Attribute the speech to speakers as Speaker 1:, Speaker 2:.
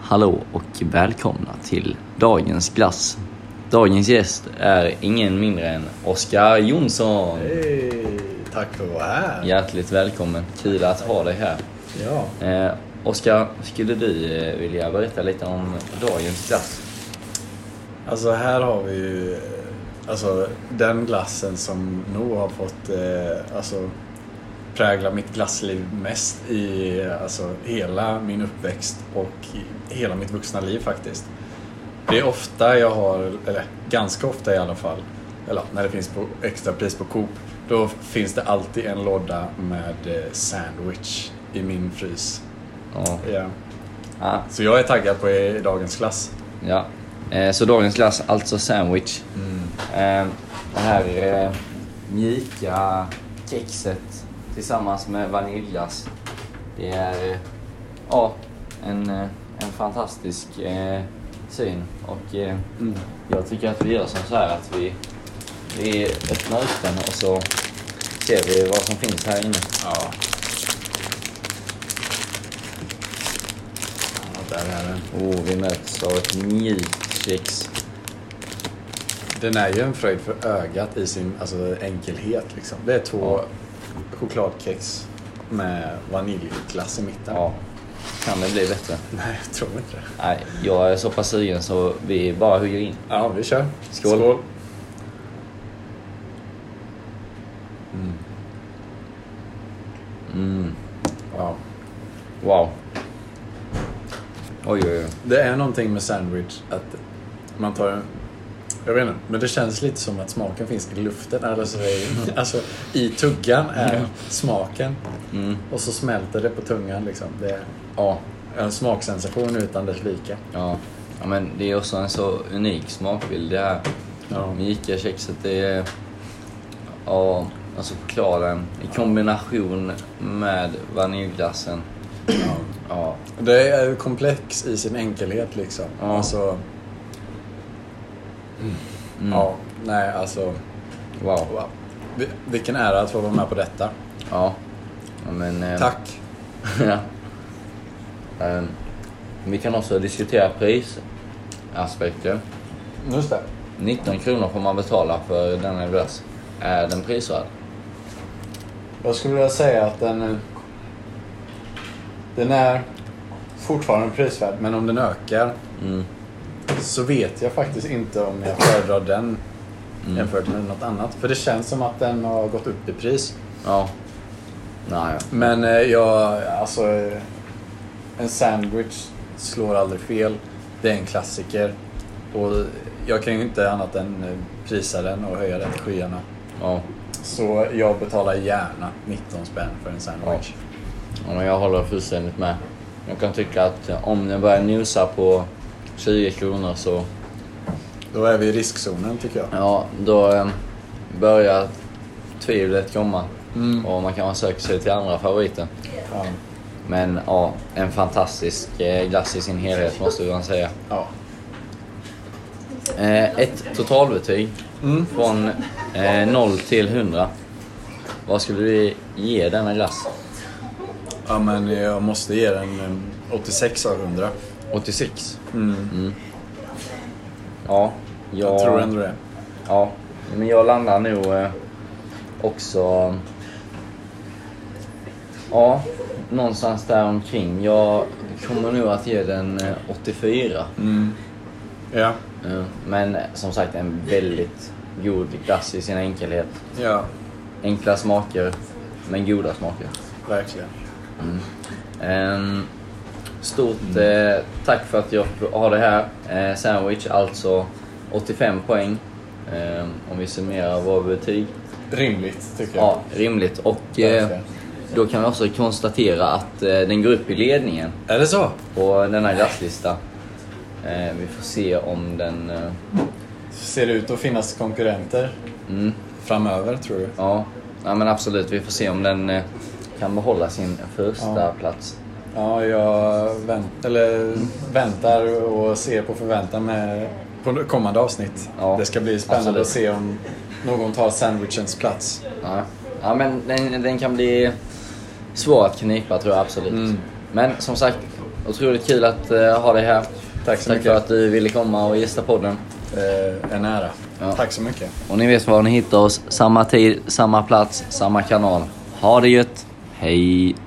Speaker 1: hallå och välkomna till dagens glass. Dagens gäst är ingen mindre än Oskar Jonsson.
Speaker 2: Hej! Tack för att vara här.
Speaker 1: Hjärtligt välkommen, kul att ha dig här.
Speaker 2: Ja.
Speaker 1: Eh, Oskar, skulle du eh, vilja berätta lite om dagens glass?
Speaker 2: Alltså här har vi ju eh, alltså, den glassen som nog har fått eh, alltså, prägla mitt glassliv mest i eh, alltså, hela min uppväxt och i hela mitt vuxna liv faktiskt. Det är ofta jag har, eller ganska ofta i alla fall, eller när det finns på extrapris på Coop, då finns det alltid en låda med eh, sandwich i min frys.
Speaker 1: Ja.
Speaker 2: Ja.
Speaker 1: Ah,
Speaker 2: Så jag är taggad på eh, dagens glass.
Speaker 1: ja. Eh, så dagens glass, alltså sandwich.
Speaker 2: Mm.
Speaker 1: Eh, det här eh, mjuka kexet tillsammans med vaniljglass. Det är eh, ja, en, eh, en fantastisk eh, syn. Och eh, jag tycker att vi gör som så här att vi, vi öppnar upp den och så ser vi vad som finns här inne.
Speaker 2: Ja. ja där är den.
Speaker 1: Oh, vi möts av ett mjukt kex.
Speaker 2: Den är ju en fröjd för ögat i sin alltså, enkelhet. Liksom. Det är två chokladkex med vaniljglass i mitten.
Speaker 1: Ja, kan det bli bättre?
Speaker 2: Nej, jag tror inte det.
Speaker 1: Nej, jag är så pass sugen så vi bara hugger in.
Speaker 2: Ja, vi kör.
Speaker 1: Skål.
Speaker 2: Mm. Ja.
Speaker 1: Wow. Oj, oj, oj.
Speaker 2: Det är någonting med sandwich att man tar en... Jag vet inte, men det känns lite som att smaken finns i luften. Eller så är, alltså, i tuggan är smaken
Speaker 1: Mm.
Speaker 2: och så smälter det på tungan. Liksom. Det är
Speaker 1: Ja,
Speaker 2: en smaksensation utan dess like.
Speaker 1: ja. ja, men det är också en så unik smakbild det här.
Speaker 2: Ja.
Speaker 1: Mjuka kexet, det är... Ja, alltså chokladen i kombination med vaniljglassen. Ja,
Speaker 2: Det är ju komplex i sin enkelhet liksom.
Speaker 1: Ja.
Speaker 2: Alltså, Mm. ja, nej alltså.
Speaker 1: wow.
Speaker 2: Wow. Vi- Vilken ära att få vara med på detta.
Speaker 1: Ja. ja men, eh,
Speaker 2: Tack.
Speaker 1: ja. Ehm, vi kan också diskutera prisaspekten.
Speaker 2: Just det.
Speaker 1: 19 kronor får man betala för denna glass. Är den prisvärd?
Speaker 2: Jag skulle vilja säga att den, eh, den är fortfarande prisvärd, men om den ökar
Speaker 1: Mm.
Speaker 2: så vet jag faktiskt inte om jag föredrar den jämfört med något annat. För det känns som att den har gått upp i pris.
Speaker 1: Ja. Nej.
Speaker 2: Men eh, jag, alltså... eh, En sandwich slår aldrig fel. Det är en klassiker. Och jag kan ju inte annat än eh, prisa den och höja den till skyarna.
Speaker 1: Ja.
Speaker 2: Så jag betalar gärna 19 spänn för en sandwich.
Speaker 1: Ja, men jag håller fullständigt med. Jag kan tycka att om den börjar nosa på 20 kronor så...
Speaker 2: Då är vi i riskzonen tycker jag.
Speaker 1: Ja, då eh, börjar tvivlet komma.
Speaker 2: Mm.
Speaker 1: Och man kan söka sig till andra favoriter.
Speaker 2: Ja.
Speaker 1: Men ja, en fantastisk eh, glass i sin helhet måste man säga.
Speaker 2: ja.
Speaker 1: Eh, ett totalbetyg
Speaker 2: Mm.
Speaker 1: från eh, 0 till 100. Vad skulle du ge denna glass?
Speaker 2: ja, men jag måste ge den eh, 86 av 100.
Speaker 1: 86. Mm. Ja, jag,
Speaker 2: Mm. Jag tror ändå det.
Speaker 1: Ja, men jag landar nog eh, också... Ja, någonstans där omkring. Jag kommer nog att ge den eh, 84.
Speaker 2: Mm. Ja.
Speaker 1: Eh, Men eh, som sagt, en väldigt god glass i sin enkelhet.
Speaker 2: Ja,
Speaker 1: Enkla smaker, men goda smaker.
Speaker 2: verkligen.
Speaker 1: Ehm, stort eh, tack för att jag har det här. Eh, sandwich, alltså 85 poäng. Ehm, om vi summerar våra betyg.
Speaker 2: Rimligt tycker jag.
Speaker 1: Ja, rimligt. Och eh, då kan vi också konstatera att eh, den går upp i ledningen
Speaker 2: Är det så?
Speaker 1: på denna glasslista. Eh, vi får se om den... Eh,
Speaker 2: Ser det ut att finnas konkurrenter
Speaker 1: mm,
Speaker 2: framöver tror du?
Speaker 1: ja. ja, men absolut. Vi får se om den eh, kan behålla sin första
Speaker 2: Ja.
Speaker 1: plats.
Speaker 2: Ja, jag vänt, eller väntar och ser på förväntan med, på kommande avsnitt.
Speaker 1: Ja,
Speaker 2: det ska bli spännande
Speaker 1: absolut.
Speaker 2: att se om någon tar sandwichens plats.
Speaker 1: Ja, ja Mm. men den, den kan bli svår att knipa tror jag absolut. Men som sagt, Otroligt kul att eh, ha dig här.
Speaker 2: Tack så
Speaker 1: Tack
Speaker 2: mycket.
Speaker 1: för att du ville komma och gästa podden.
Speaker 2: Eh, en ära.
Speaker 1: Ja.
Speaker 2: Tack så mycket.
Speaker 1: Och ni vet var ni hittar oss. Samma tid, samma plats, samma kanal. Ha det gött. Hej!